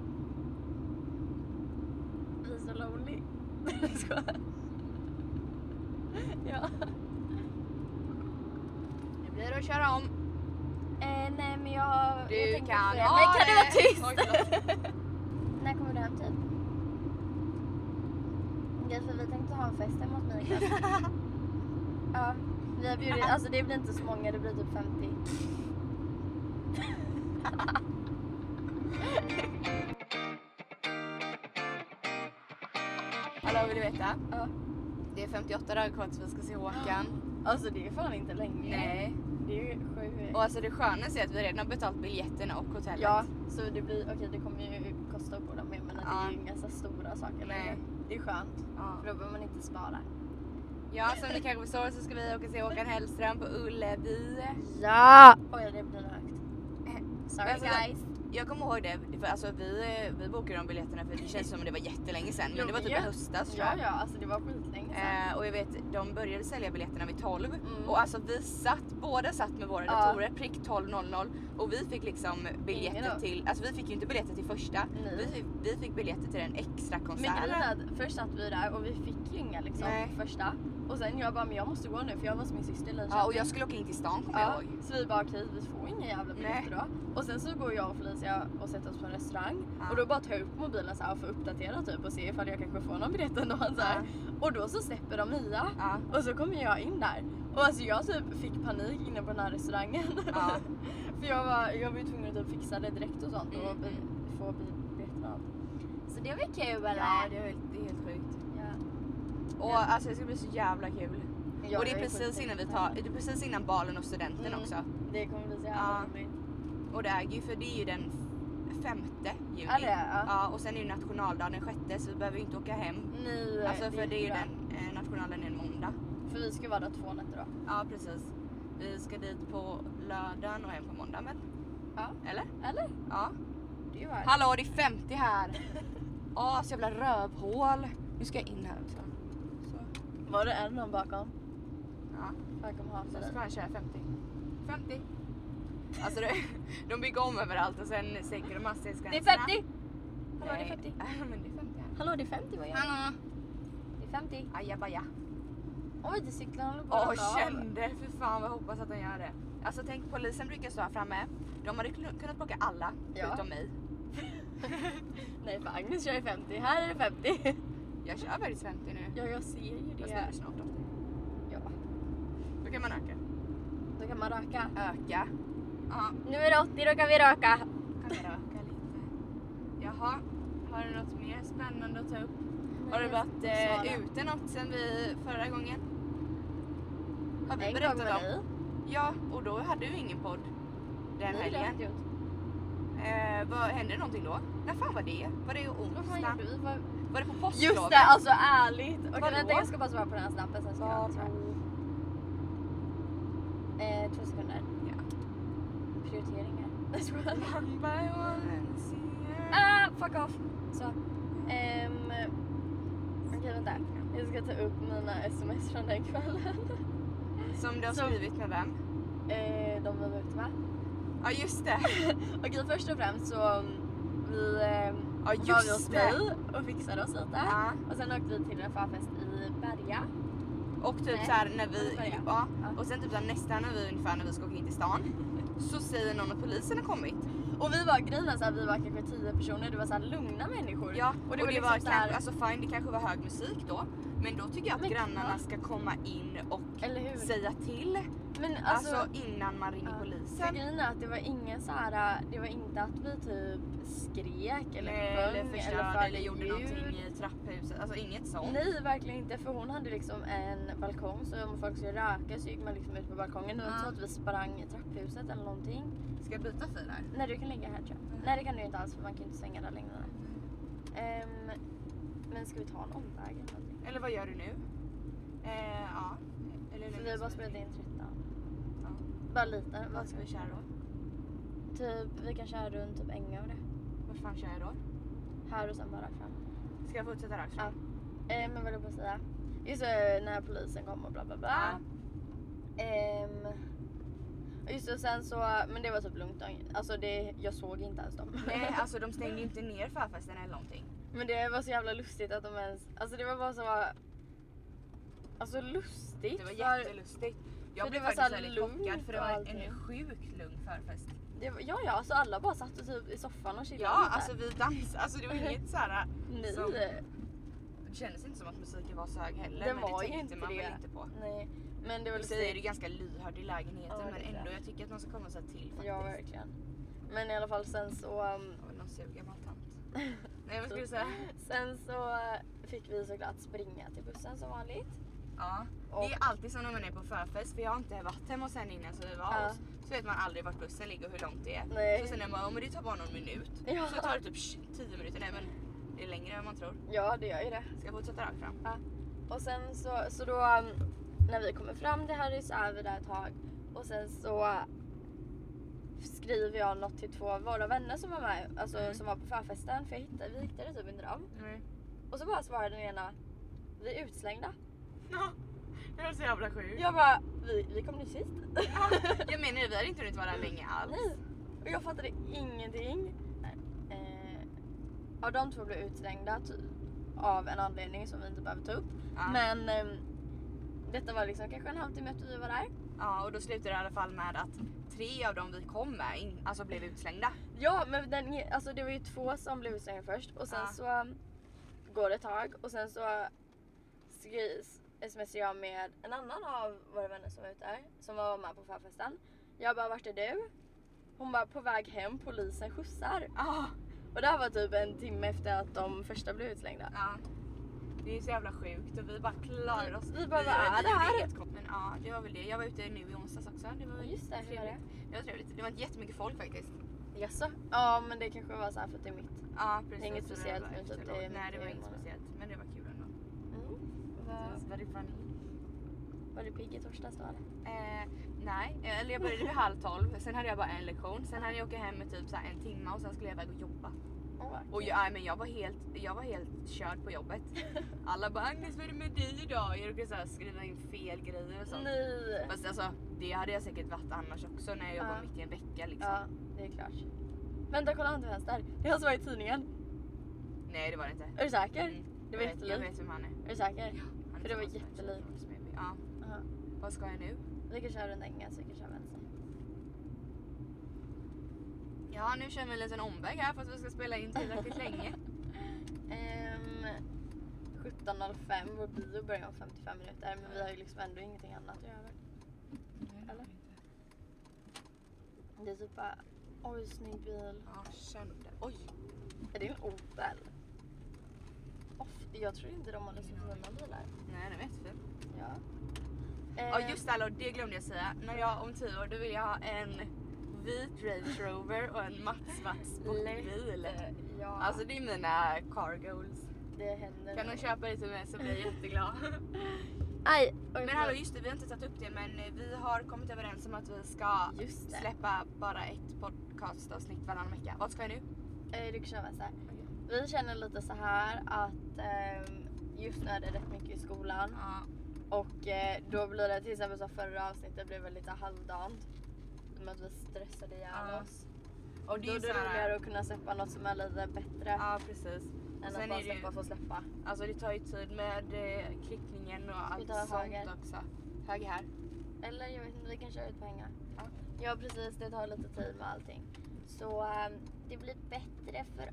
S1: Vi är så lonely. Jag skojar. Ja.
S2: Nu blir det att köra om.
S1: Eh, nej men jag...
S2: Du
S1: jag tänkte
S2: kan
S1: på det. Men kan du vara
S2: ha det. Oj,
S1: tyst? När kommer du hem typ? Okej, för vi tänkte ha en fest hemma hos mig ikväll. Ja, vi har bjudit, alltså det blir inte så många, det blir typ 50.
S2: ville veta.
S1: Ja.
S2: Det är 58 dagar kvar tills vi ska se Håkan.
S1: Alltså det är fan inte länge.
S2: Nej.
S1: Det är ju sju...
S2: Och alltså det skönaste är att vi redan har betalt biljetterna och hotellet.
S1: Ja, så det blir, okej det kommer ju kosta att bo där med men att det är
S2: Ja.
S1: ju inga så stora saker
S2: Nej.
S1: längre. Det är skönt,
S2: Ja.
S1: för då behöver man inte spara.
S2: Ja, som ni kanske förstår så ska vi åka se Håkan Hellström på Ullevi.
S1: Ja! Eh, Oj, det blir högt. Sorry
S2: Alltså,
S1: guys.
S2: Jag kommer ihåg det, för alltså vi, vi bokade de biljetterna för det känns som att det var jättelänge sedan.
S1: Jo,
S2: Men det var typ i
S1: ja.
S2: höstas tror
S1: Ja,
S2: jag.
S1: ja, alltså det var skitlänge sedan.
S2: Eh, och jag vet, de började sälja biljetterna vid 12
S1: Mm.
S2: och alltså vi satt, båda satt med våra
S1: Ja.
S2: datorer prick 12.00 och vi fick liksom
S1: Ingen
S2: biljetter
S1: av-
S2: till, alltså vi fick ju inte biljetter till första,
S1: Nej.
S2: vi, fick- vi fick biljetter till den extra
S1: Men grejen är
S2: konserten.
S1: att först satt vi där och vi fick ju inga liksom
S2: Nej.
S1: första. Och sen jag bara, men jag måste gå nu för jag var hos min syster i Linköping.
S2: Ja, och jag skulle åka in till stan kommer
S1: Ja,
S2: jag ihåg.
S1: så vi bara okej vi får inga jävla biljetter då. Och sen så går jag och Felicia och sätter oss på en restaurang
S2: Ja.
S1: och då bara tar jag upp mobilen så här och får uppdatera typ och se ifall jag kanske får någon biljett ändå. Så här. Och då så släpper de Mia
S2: Ja.
S1: och så kommer jag in där. Och alltså jag typ fick panik inne på den här restaurangen.
S2: Ja.
S1: För jag var, jag var ju tvungen att typ fixa det direkt och sånt och
S2: Mm.
S1: bi, få biljetter och allt. Så det var kul eller?
S2: Ja, det är helt, det är helt sjukt.
S1: Ja.
S2: Och
S1: Ja.
S2: alltså det ska bli så jävla kul.
S1: Jag
S2: och det är
S1: är
S2: precis
S1: sjukt
S2: innan vi tar, det är precis innan balen och studenten
S1: Mm.
S2: också.
S1: Det kommer bli så
S2: Ja.
S1: jävla roligt.
S2: Och det är ju, för det är ju den f- femte juni.
S1: Ja det är ja.
S2: Ja, och sen är ju nationaldagen den sjätte så vi behöver ju inte åka hem.
S1: Nej,
S2: Alltså för det är ju
S1: bra.
S2: den, eh, nationaldagen är en måndag.
S1: För vi ska vara där två nätter då.
S2: Ja precis. Vi ska dit på lördagen och hem på måndagen väl?
S1: Ja.
S2: Eller?
S1: Eller?
S2: Ja.
S1: Det är ju värt.
S2: Hallå det är 50 här! Åh så jävla rövhål. Nu ska jag in här också. Så.
S1: Var det en någon bakom?
S2: Ja.
S1: Bakom hatet.
S2: Så ska han köra 50. 50. Alltså det, de bygger om överallt och sen sänker de
S1: Det är
S2: hastighetsgränserna.
S1: 50! Hallå det är 50.
S2: Nej, men det är 50 här.
S1: Hallå det är 50 vad gör du?
S2: Hallå!
S1: Det är 50.
S2: Ajabaja.
S1: Oj det cyklar håller på
S2: Åh
S1: ramla av.
S2: kände, fy fan vad jag hoppas att de gör det. Alltså tänk polisen brukar stå här framme. De hade knu- kunnat plocka alla
S1: Ja.
S2: utom mig.
S1: Nej för Agnes kör ju 50. Här är det 50.
S2: Jag kör faktiskt 50 nu.
S1: ja jag ser ju
S2: Fast nu är
S1: det.
S2: det snart 80.
S1: Ja.
S2: Då kan man öka.
S1: Då kan man röka.
S2: Öka. Ja,
S1: Nu är det 80 då kan vi röka.
S2: kan man röka lite. Jaha, har du något mer spännande att ta upp? Har du varit eh, ute något sen vi förra gången? Har vi
S1: en gång med
S2: berättat om?
S1: dig.
S2: Ja, och då hade vi ingen podd
S1: Nej,
S2: den
S1: det har jag
S2: helgen.
S1: inte gjort.
S2: Eh, vad, hände någonting då? När fan var det? Var det
S1: Vad fan gjorde
S2: onsdag?
S1: vi? Vad-
S2: Var det på påsklovet?
S1: Just det, alltså ärligt. Okej
S2: Vadå?
S1: vänta jag ska bara svara på den här snappen sen ska jag svara.
S2: Vadå?
S1: Eh, två sekunder.
S2: Ja.
S1: Prioriteringar. Nej jag skojar.
S2: One by one and see you.
S1: Ah, fuck off! Så. Ehm, Okej vänta. Jag ska ta upp mina sms från den kvällen.
S2: Som du har
S1: Som-
S2: skrivit med vem?
S1: Eh, de vi var ute va?
S2: Ja just det!
S1: Okej först och främst så mm, vi eh,
S2: Ja
S1: var vi hos
S2: just det!
S1: dig och fixade oss lite.
S2: Ja.
S1: Och sen åkte vi till en förfest i Berga.
S2: Och typ
S1: Nej.
S2: såhär när
S1: Ja, det
S2: vi,
S1: var jag.
S2: ja,
S1: Ja.
S2: och sen typ såhär nästan när vi ungefär när vi ska åka in till stan så säger någon att polisen har kommit.
S1: Och vi var grejen är så här, vi var kanske tio personer, det var så här lugna människor.
S2: Ja,
S1: Och det
S2: och det,
S1: var liksom
S2: var
S1: så här-
S2: kanske, alltså fine det kanske var hög musik då. Men då tycker jag att
S1: Men-
S2: grannarna ska komma in och
S1: Eller hur?
S2: säga till.
S1: Men alltså,
S2: Alltså, innan man ringer
S1: Ja. För
S2: polisen.
S1: grejen är att det var ingen så här, det var inte att vi typ skrek eller
S2: Nej,
S1: sjöng
S2: eller förstörde
S1: föll
S2: eller gjorde
S1: ljud.
S2: någonting i trapphuset. Alltså inget sånt.
S1: Nej verkligen inte för hon hade liksom en balkong så om folk skulle röka så gick man liksom ut på balkongen. Det var inte så
S2: Ja.
S1: att vi sprang i trapphuset eller någonting.
S2: Ska jag byta fil här?
S1: Nej du kan lägga här tror jag.
S2: Mm.
S1: Nej det kan du inte alls för man kan ju inte svänga där längre. Ehm, men ska vi ta en omväg eller någonting?
S2: Eller vad gör du nu? Eh, ja. Eller
S1: För
S2: hur
S1: vi har
S2: länge
S1: bara
S2: ska vi-
S1: spelat in 13.
S2: Ja.
S1: Bara lite.
S2: Vad ska vi köra då?
S1: Typ, vi kan köra runt typ Ängö och det.
S2: Vart fan kör jag då?
S1: Här och sen bara rakt fram.
S2: Ska jag fortsätta rakt
S1: Ja. Eh, men vad höll jag på att säga? Just det, när polisen kom och bla bla bla. Ehm, just det, och sen så, men det var typ lugnt. Alltså det, jag såg inte ens dem.
S2: Nej alltså de stängde ju inte ner förfesten eller någonting.
S1: men det var så jävla lustigt att de ens, alltså det var bara så, alltså lustigt.
S2: Det var
S1: för-
S2: jättelustigt. Jag
S1: för
S2: blev
S1: det var så
S2: faktiskt
S1: här
S2: väldigt chockad
S1: lugnt
S2: för det
S1: och
S2: var
S1: allting.
S2: en sjukt lugn förfest.
S1: det var, ja ja, alltså alla bara satt och typ i soffan och chillade
S2: Ja
S1: lite.
S2: alltså vi dansade, alltså det var inget såhär.
S1: Nej.
S2: som- Det kändes inte som att musiken var så hög heller.
S1: Det
S2: men
S1: var
S2: det
S1: ju
S2: tänkte
S1: inte
S2: man
S1: det.
S2: väl inte på.
S1: Nej, men det var
S2: I sig är det
S1: lustigt.
S2: ganska lyhörd i lägenheten
S1: Ja, det
S2: men
S1: är
S2: ändå
S1: det.
S2: jag tycker att man ska komma så här till faktiskt.
S1: Ja verkligen. Men i alla fall sen så, um,
S2: Det var någon sur gammal tant. Nej vad skulle du säga?
S1: Sen så fick vi såklart springa till bussen som vanligt.
S2: Ja.
S1: Och-
S2: Det är alltid så när man är på förfest, för jag har inte varit hemma hos henne innan så vi var
S1: Ja.
S2: hos. Så vet man aldrig vart bussen ligger och hur långt det är.
S1: Nej.
S2: Så sen när man bara, "Ja, men det tar bara någon minut.
S1: Ja.
S2: Så tar det typ sh- 10 minuter. Nej men det är längre än man tror.
S1: Ja, det gör ju det.
S2: Ska jag fortsätta rakt fram?
S1: Och sen så, så då um, när vi kommer fram till Harry så är vi där ett tag och sen så skriver jag något till två av våra vänner som var med, alltså
S2: Mm.
S1: som var på förfesten för jag hittade, vi hittade typ inte dem.
S2: Nej.
S1: Och så bara svarade den ena vi är utslängda.
S2: Mm. Det var så jävla sjukt.
S1: Jag bara, vi, vi kom nyss hit.
S2: Ja, jag menar det, vi hade inte hunnit vara där länge alls.
S1: Nej. Och jag fattade ingenting. Eh, ja, de två blev utslängda ty- av en anledning som vi inte behöver ta upp.
S2: Ja.
S1: Men ehm, detta var liksom kanske en halvtimme efter vi var där.
S2: ja, och då slutade det i alla fall med att tre av dem vi kom med in, alltså blev utslängda.
S1: Ja, men den, alltså det var ju två som blev utslängda först och sen
S2: Ja.
S1: så um, går det ett tag och sen så skri- smsar jag med en annan av våra vänner som var ute där, som var med på förfesten. Jag bara, vart är du? Hon bara, på väg hem, polisen skjutsar.
S2: Ja.
S1: Och det här var typ en timme efter att de första blev utslängda.
S2: Ja. Det är så jävla sjukt och vi bara klarar oss.
S1: Vi bara, vad är det här?
S2: helt kom- Men ja, det var väl det. Jag var ute nu i onsdags också. Det var
S1: Ja, just det, hur var det?
S2: Det var trevligt. Det var inte jättemycket folk faktiskt.
S1: Jaså? Ja men det kanske var så här för att det är mitt.
S2: Ja, precis.
S1: inget
S2: Så det
S1: speciellt,
S2: var
S1: men typ
S2: efterlov.
S1: det är
S2: Nej, det
S1: mycket
S2: var inget
S1: humor.
S2: speciellt. Men det var kul ändå.
S1: Var,
S2: Var det funny?
S1: Mm. var du pigg i torsdags då eller?
S2: Eh, nej, eller jag började vid halv tolv. Sen hade jag bara en lektion. Sen hade jag åka hem i typ så här en timme och sen skulle jag iväg och jobba.
S1: Oh,
S2: Och jag, nej, men jag, var helt, jag var helt körd på jobbet. Alla bara Agnes vad är det med dig idag? Jag råkade så här skriva in fel grejer och sånt.
S1: Nej!
S2: Fast alltså, det hade jag säkert varit annars också när jag jobbade
S1: Ja.
S2: mitt i en vecka liksom.
S1: Ja, det är klart. Vänta, kolla han till vänster. Det är han som var i tidningen.
S2: Nej det var det inte.
S1: Är du säker?
S2: Mm.
S1: Det var
S2: jag, vet, jag
S1: jättelikt.
S2: vet vem han är.
S1: Är du säker?
S2: Han är
S1: För det var
S2: tillsammans med en tjej
S1: jättelikt.
S2: från Smeeby. Ja.
S1: Aha.
S2: Vad ska jag nu?
S1: Vi kan köra runt ängen så vi kan köra vänster.
S2: Ja nu kör vi en liten omväg här för att vi ska spela in tillräckligt länge.
S1: Ehm, 17.05, vår bio börjar om 55 minuter men vi har ju liksom ändå ingenting annat att göra. Eller? Det är typ bara, oj snygg bil.
S2: Ja sönder. Oj!
S1: Är det en Opel? Off, jag tror inte de håller sig för undan bilar.
S2: Nej den var jättefin.
S1: Ja.
S2: Ja
S1: Ehm,
S2: just det hallå, det glömde jag säga. När jag om tio år då vill jag ha en vit Range Rover och en mattsvart sportbil.
S1: lätt. Ehm, Ja,
S2: Alltså det är mina car goals.
S1: det händer.
S2: Kan
S1: nog.
S2: de köpa det till mig så blir jag jätteglad.
S1: Aj! oj,
S2: Men
S1: förlåt.
S2: hallå just det, vi har inte tagit upp det men eh, vi har kommit överens om att vi ska
S1: Just det.
S2: släppa bara ett podcastavsnitt varannan vecka. Vad ska jag nu?
S1: Eh, Du kan köra så här.
S2: Okej.
S1: Vi känner lite så här att ehm, just nu är det rätt mycket i skolan
S2: Ja,
S1: och eh, då blir det till exempel som förra avsnittet blev väl lite halvdant. Med att vi stressade ihjäl
S2: Ja.
S1: oss.
S2: och det
S1: Då är
S2: är ju
S1: det
S2: så här,
S1: roligare att kunna släppa något som är lite bättre
S2: Ja precis. och
S1: än att
S2: sen
S1: bara
S2: är det ju-
S1: släppa för att släppa.
S2: Alltså det tar ju tid med eh, klippningen och allt
S1: ta
S2: sånt
S1: höger?
S2: också. Höger här.
S1: Eller jag vet inte, vi kan köra ut på hänga.
S2: Ja.
S1: Ja precis, det tar lite tid med allting. Så ehm, det blir bättre för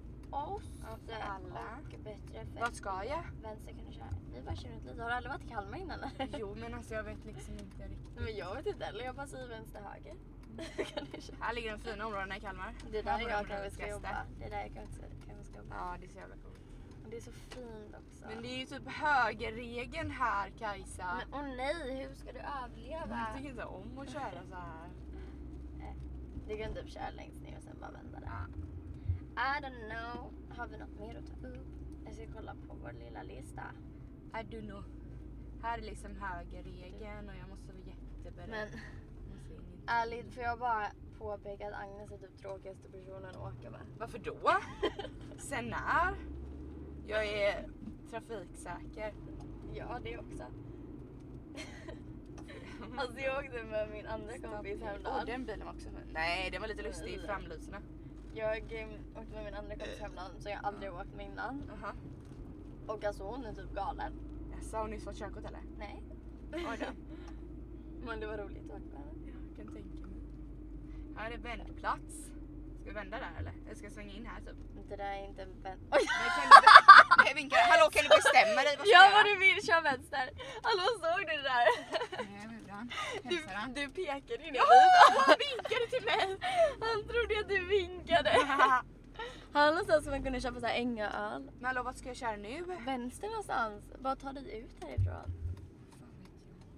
S1: oss.
S2: Ja, för alla.
S1: Och bättre för
S2: Vart ska jag?
S1: vänster kan du köra. Vi bara kör runt lite. Har du aldrig varit i Kalmar innan eller?
S2: Jo men alltså jag vet liksom inte riktigt.
S1: Men jag vet inte heller, jag bara säger vänster höger. kan du köra?
S2: Mm. Här ligger de fina områdena i Kalmar.
S1: Det är
S2: Här
S1: där
S2: bor
S1: jag
S2: de
S1: kanske ska
S2: rikaste.
S1: jobba. Det är där jag kanske kanske ska jobba.
S2: Ja det är så jävla coolt.
S1: Och Det är så fint också.
S2: Men det är ju typ högerregeln här Kajsa.
S1: Men åh nej, hur ska du
S2: jag
S1: överleva?
S2: tycker inte om att köra så här.
S1: Du kan typ köra längst ner och sen bara vända där.
S2: Ja.
S1: I don't know. Har vi något mer att ta upp? Jag ska kolla på vår lilla lista.
S2: I do know. Här är liksom högerregeln och jag måste vara jätteberedd.
S1: Men
S2: Måste in i-
S1: ärligt, får jag bara påpeka att Agnes är typ tråkigaste personen att åka med.
S2: Varför då? Sen när? Jag är trafiksäker.
S1: Ja, det också. alltså jag åkte med min andra kompis
S2: Åh,
S1: häromdagen.
S2: den bilen var också fin. Nej, den var lite lustig i
S1: Nej.
S2: framlyserna.
S1: Jag eh, åkte med min andra
S2: Eh.
S1: kompis hemland som jag aldrig åkt med innan.
S2: Jaha.
S1: Och alltså hon är typ galen.
S2: Jaså, har hon nyss fått körkort eller?
S1: Nej.
S2: Oj då.
S1: Men det var roligt att åka med henne.
S2: Jag kan tänka mig. Här är vändplats. Ska vi vända där eller? Eller ska jag svänga in här typ?
S1: Det där är inte en vän... Oj!
S2: Nej, kan du... Nej, vinka. Hallå, kan du bestämma dig? Vad ska
S1: Gör
S2: jag
S1: vad
S2: göra?
S1: du vill, kör vänster! Hallå såg du det där?
S2: Nej, vad gjorde han?
S1: Du,
S2: Hälsade han?
S1: du pekade ju ner
S2: Ja,
S1: dit.
S2: han vinkade till mig!
S1: Han trodde att du vinkade. Här någonstans som man kunde köpa så här Ängaöl.
S2: Men hallå vad ska jag köra nu? Fan,
S1: Vänster någonstans. Bara ta dig ut härifrån.
S2: vet jag.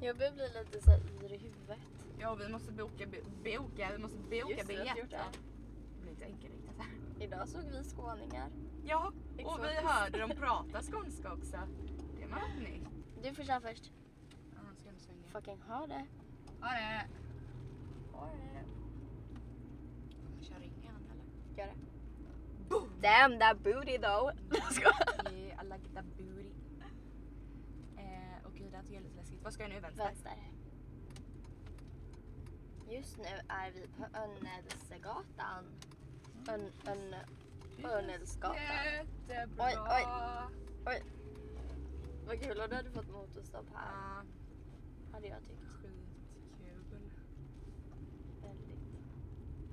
S1: Jag börjar bli lite så här yr i huvudet.
S2: Ja vi måste boka, bi- boka, vi måste boka
S1: Just det, vi har inte
S2: biljetter.
S1: gjort det.
S2: Det blir inte enkelriktat här.
S1: Idag såg vi skåningar.
S2: Ja, och vi
S1: Exotiskt.
S2: hörde dem prata skånska också. Det var något nytt.
S1: Du får köra först.
S2: Ja, nu ska jag inte svänga.
S1: Fucking ha det.
S2: Ha det!
S1: Ha det.
S2: Kör ring igen eller?
S1: Gör det.
S2: Boom!
S1: Damn that booty though. Jag skojar.
S2: I like that booty. Eh, och gud det här tycker jag är lite läskigt. Vad ska jag nu? Vänster?
S1: Vänster. Just nu är vi på Önnäsgatan. Ön, ön, Örnäsgatan.
S2: Jättebra!
S1: Oj, oj. Vad kul om du hade fått motorstopp här.
S2: Ah,
S1: Hade jag tyckt.
S2: skitkul.
S1: Väldigt.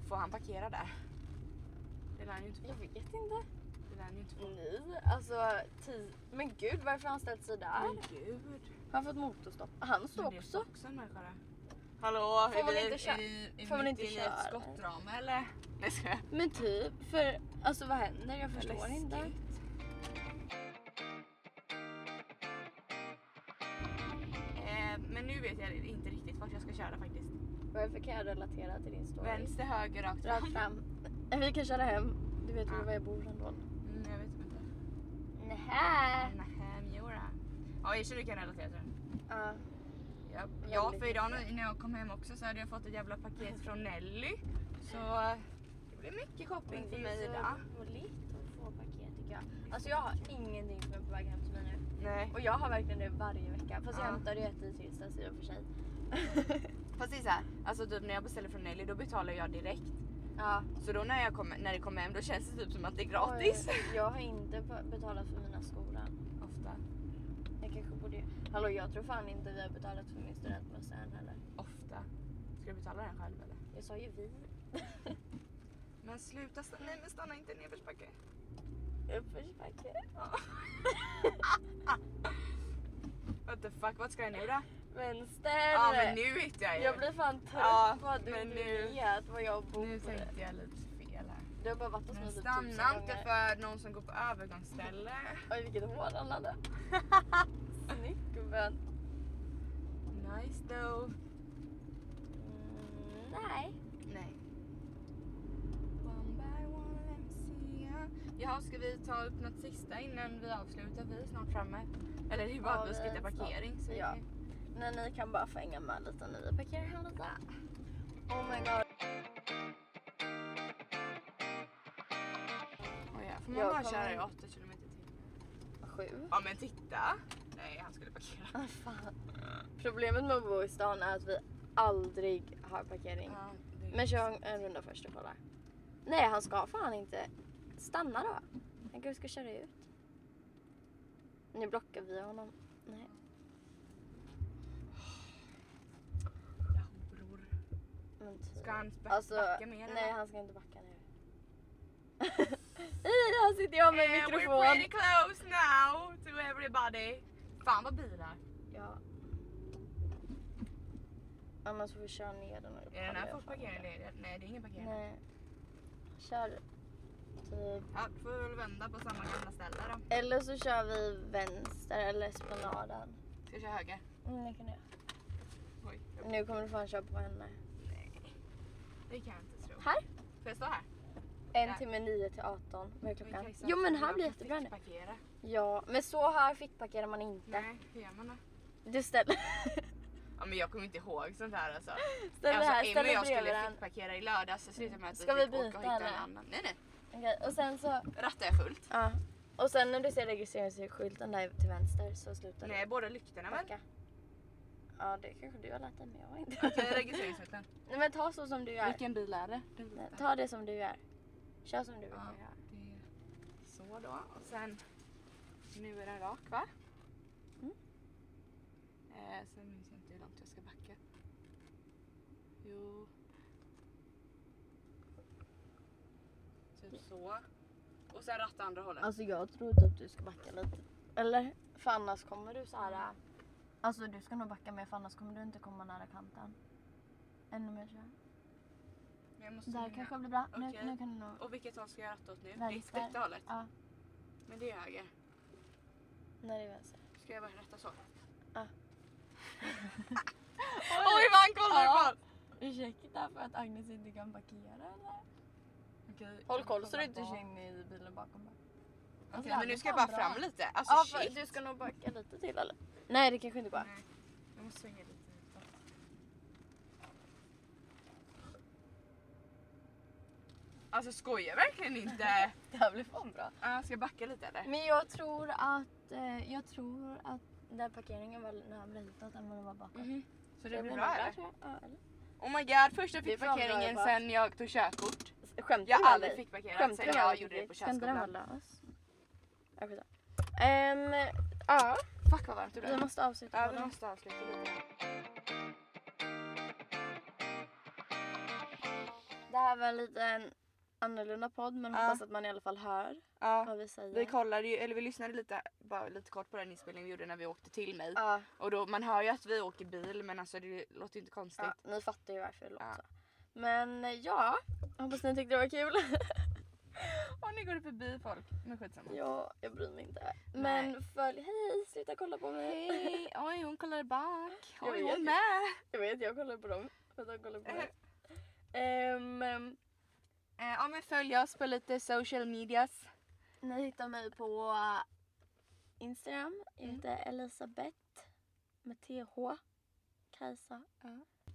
S2: Får han parkera där? Det lär han ju inte få.
S1: Jag vet inte.
S2: Det lär han ju inte få.
S1: Nej, alltså. Ti- men gud varför har han ställt sig där?
S2: Men gud.
S1: Han har fått motorstopp. Han står
S2: Men det är
S1: också.
S2: också en människa där. Hallå,
S1: Får
S2: är
S1: man
S2: vi,
S1: inte
S2: är
S1: kö-
S2: vi, är
S1: får man
S2: mitt
S1: inte
S2: inne i ett
S1: köra?
S2: skottdrama eller? Nej ska jag.
S1: Men typ. För alltså vad händer? Jag förstår inte.
S2: Eh, men nu vet jag inte riktigt vart jag ska köra faktiskt.
S1: Varför kan jag relatera till din story?
S2: Vänster, höger, rakt fram.
S1: Rakt fram. Vi kan köra hem. Du vet
S2: Ja.
S1: ju var jag bor ändå.
S2: Mm, jag vet inte.
S1: Nähä.
S2: Nähä, Miora. Ja, jag känner att jag kan relatera till den.
S1: Ja.
S2: Ja,
S1: Ja,
S2: ja
S1: lite
S2: för idag
S1: så.
S2: när när jag kom hem också så hade jag fått ett jävla paket från Nelly. Så det blev mycket shopping för mig idag.
S1: roligt att få paket tycker jag. Alltså jag har ingenting som är på väg hem till mig nu.
S2: Nej.
S1: Och jag har verkligen det varje vecka. Fast jag
S2: Ja.
S1: hämtar det jättetrist i och för sig.
S2: Fast det är så här, alltså typ när jag beställer från Nelly då betalar jag direkt.
S1: ja.
S2: Så då när, jag kommer, när det kommer hem då känns det typ som att det är gratis.
S1: Oj, eh, jag har inte be- betalat för mina skolor.
S2: Ofta.
S1: Jag kanske borde... Hallå jag tror fan inte vi har betalat för min studentmössa än heller.
S2: Ofta. Ska du betala den själv eller?
S1: Jag sa ju vi.
S2: Men sluta stanna, nej men stanna inte i nedförsbacke.
S1: Uppförsbacke.
S2: What the fuck, vart ska jag nu då?
S1: Vänster.
S2: Ja men nu vet jag ju.
S1: Jag blir fan trött
S2: Ja,
S1: på att du
S2: men
S1: inte
S2: nu-
S1: vet var jag bor.
S2: Nu tänkte jag lite fel här.
S1: Du har bara varit hos mig
S2: Men
S1: typ
S2: stanna
S1: tusen
S2: inte
S1: gånger.
S2: för någon som går på övergångsställe.
S1: Oj vilket hår han hade. Snyggt gubben.
S2: Nice though.
S1: Mm, nej.
S2: Nej. One by one, let me see ya. Jaha, ska vi ta upp något sista innan vi avslutar? Vi är snart framme. Eller det är bara
S1: Ja,
S2: att vi ska
S1: vi
S2: hitta
S1: är snart-
S2: parkering. Så vi
S1: ja.
S2: kan-
S1: Nej ni kan bara få hänga med lite när vi parkerar här lite. Oh my god.
S2: Oj, ja. Får man
S1: Jag
S2: bara
S1: kommer-
S2: köra i 8 km till?
S1: Sju.
S2: Ja men titta! Nej, han skulle parkera.
S1: Ah, fan. Problemet med att bo i stan är att vi aldrig har parkering.
S2: Ja, det-
S1: Men kör en runda först och kolla. Nej han ska fan inte. Stanna då. Han kanske ska köra ut. Nu blockar vi honom. Nej.
S2: Ja, bror.
S1: Men typ.
S2: Ska han back-
S1: Alltså,
S2: backa mer
S1: nej
S2: eller?
S1: han ska inte backa nu. I där sitter jag med
S2: Eh,
S1: mikrofon.
S2: We're pretty close now to everybody. Fan vad bilar.
S1: Ja. Annars får vi köra ner den. och
S2: Är den
S1: kolla
S2: här
S1: ifall
S2: folk parkerad? Nej, det är ingen
S1: den-
S2: parkering.
S1: Nej. Kör. Typ.
S2: Ja, då får vi väl vända på samma gamla ställe då.
S1: Eller så kör vi vänster eller esplanaden.
S2: Ska jag köra höger?
S1: Mm, det kan du göra.
S2: Oj. jag-
S1: Nu kommer du fan köra på henne.
S2: Nej. Det kan jag inte tro.
S1: Här.
S2: Får jag stå här?
S1: En
S2: Där.
S1: timme 9 till 18. Vad är klockan?
S2: Kajsa,
S1: Jo men
S2: jag
S1: här blir
S2: kan
S1: jättebra nu.
S2: fick parkera.
S1: Ja, men så här fickparkerar man inte.
S2: Nej, hur gör man då?
S1: Du ställer,
S2: Ja, men jag kommer inte ihåg sånt här alltså.
S1: ställer
S2: alltså
S1: här,
S2: Emmy och
S1: ställer
S2: jag
S1: bredvid
S2: skulle
S1: den.
S2: fickparkera i lördags så slutade med att
S1: Ska vi
S2: fick åka
S1: byta
S2: och hitta en
S1: eller?
S2: annan. Nej nej,
S1: Okej, och sen så...
S2: rattar jag fullt.
S1: Ja. Och sen när du ser registreringsskylten där till vänster så slutar
S2: Nej, båda lyktorna
S1: du
S2: väl?
S1: backa. Ja, det kanske du har lärt dig, men jag har inte.
S2: Okej, registreringsskylten.
S1: Nej, men ta så som du gör.
S2: Vilken bil är det? Den
S1: Nej,
S2: vita.
S1: Ta det som du gör. Kör som du brukar
S2: Ja,
S1: göra.
S2: det är så då. Och sen, nu är den rak va?
S1: Mm.
S2: Eh, sen minns jag inte hur långt jag ska backa. Jo. Typ så. Och sen ratta andra hållet.
S1: Alltså jag tror typ du ska backa lite. Eller? För annars kommer du så här. äh, Alltså du ska nog backa mer för annars kommer du inte komma nära kanten. Ännu mer så här.
S2: Men jag måste
S1: Det här
S2: ringa.
S1: kanske blir bra. Nu,
S2: Okej.
S1: nu kan du nog...
S2: Och vilket håll ska jag ratta åt nu?
S1: Vänster.
S2: Ditt rätta hållet?
S1: Ja,
S2: Men det är höger.
S1: när det är vänster.
S2: Ska jag bara rätta så?
S1: Oj!
S2: vad han kollar
S1: Ja. Ursäkta för att Agnes inte kan parkera eller? Okej.
S2: Håll koll så du inte
S1: Kolla
S2: kör
S1: in i bilen bakom bara.
S2: Okej
S1: Alltså,
S2: men nu
S1: det
S2: ska jag
S1: var
S2: bara
S1: bra.
S2: fram lite. Alltså
S1: Ja, för
S2: shit.
S1: du ska nog backa lite till eller? Nej det kanske inte går.
S2: Nej, Jag måste svänga lite utåt. Alltså skojar verkligen inte.
S1: Det här blir fan bra.
S2: Ah, ska jag backa lite eller?
S1: Men jag tror att, eh, jag tror att den parkeringen var närmare hitåt än vad den var bakåt.
S2: Så det Mm-hmm. blir bra eller?
S1: tror jag. Ja, eller?
S2: Oh my god, första
S1: Det är
S2: fick
S1: bra om du har
S2: parkeringen
S1: jobbat.
S2: sen jag tog körkort.
S1: Skämtar
S2: Jag
S1: du med
S2: aldrig
S1: mig?
S2: fick parkerat
S1: Skämtar
S2: sen
S1: du med
S2: jag
S1: mig?
S2: gjorde det på
S1: Ska inte den vara
S2: körskolan.
S1: lös? Ja, skitsamma. Ehm, ja,
S2: Fuck vad varmt det
S1: vi
S2: blev.
S1: måste avsluta
S2: Ja vi
S1: podden.
S2: måste avsluta lite.
S1: Det här var en liten annorlunda podd men
S2: Ja.
S1: hoppas att man i alla fall hör
S2: Ja.
S1: vad vi säger.
S2: Vi kollade ju, eller vi lyssnade lite, bara lite kort på den inspelningen vi gjorde när vi åkte till mig.
S1: Ja,
S2: Och då, man hör ju att vi åker bil men alltså det låter ju inte konstigt.
S1: ja, ni fattar ju varför det låter
S2: Ja.
S1: så. Men eh, ja, hoppas ni tyckte det var kul.
S2: Och nu går det förbi folk. Men skitsamma.
S1: ja, jag bryr mig inte.
S2: Nej.
S1: Men följ, hej, sluta kolla på mig.
S2: Hej! Oj hon kollar bak.
S1: Jag
S2: Oj
S1: vet
S2: hon
S1: ju.
S2: med.
S1: Jag vet, jag kollar på dem. För att de kollar på mig. Ehm, ehm,
S2: Eh, ja men följ oss på lite social medias.
S1: ni hittar mig på Instagram. Jag
S2: Mm.
S1: heter Elisabeth med TH. Kajsa.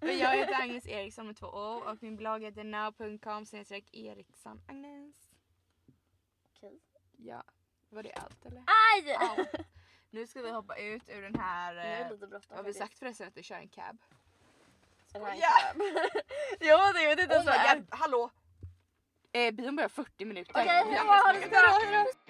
S2: Men jag heter Agnes Eriksson med två O och min blogg heter now.com snedstreck Eriksson Agnes.
S1: Okej.
S2: Ja, var det allt eller?
S1: Aj!
S2: Ja. Nu ska vi hoppa ut ur den här...
S1: Nu är
S2: Eh,
S1: det lite bråttom.
S2: har vi
S1: faktiskt.
S2: sagt förresten att vi kör en cab?
S1: Den här
S2: Ja!
S1: Jo, det vet inte
S2: Oh
S1: ens vad det
S2: my
S1: är.
S2: god, hallå! Eh, bion börjar 40 minuter.
S1: Okej,
S2: Vi
S1: hej då,
S2: andas
S1: ha det
S2: nu.
S1: så bra.
S2: Hejdå, hejdå.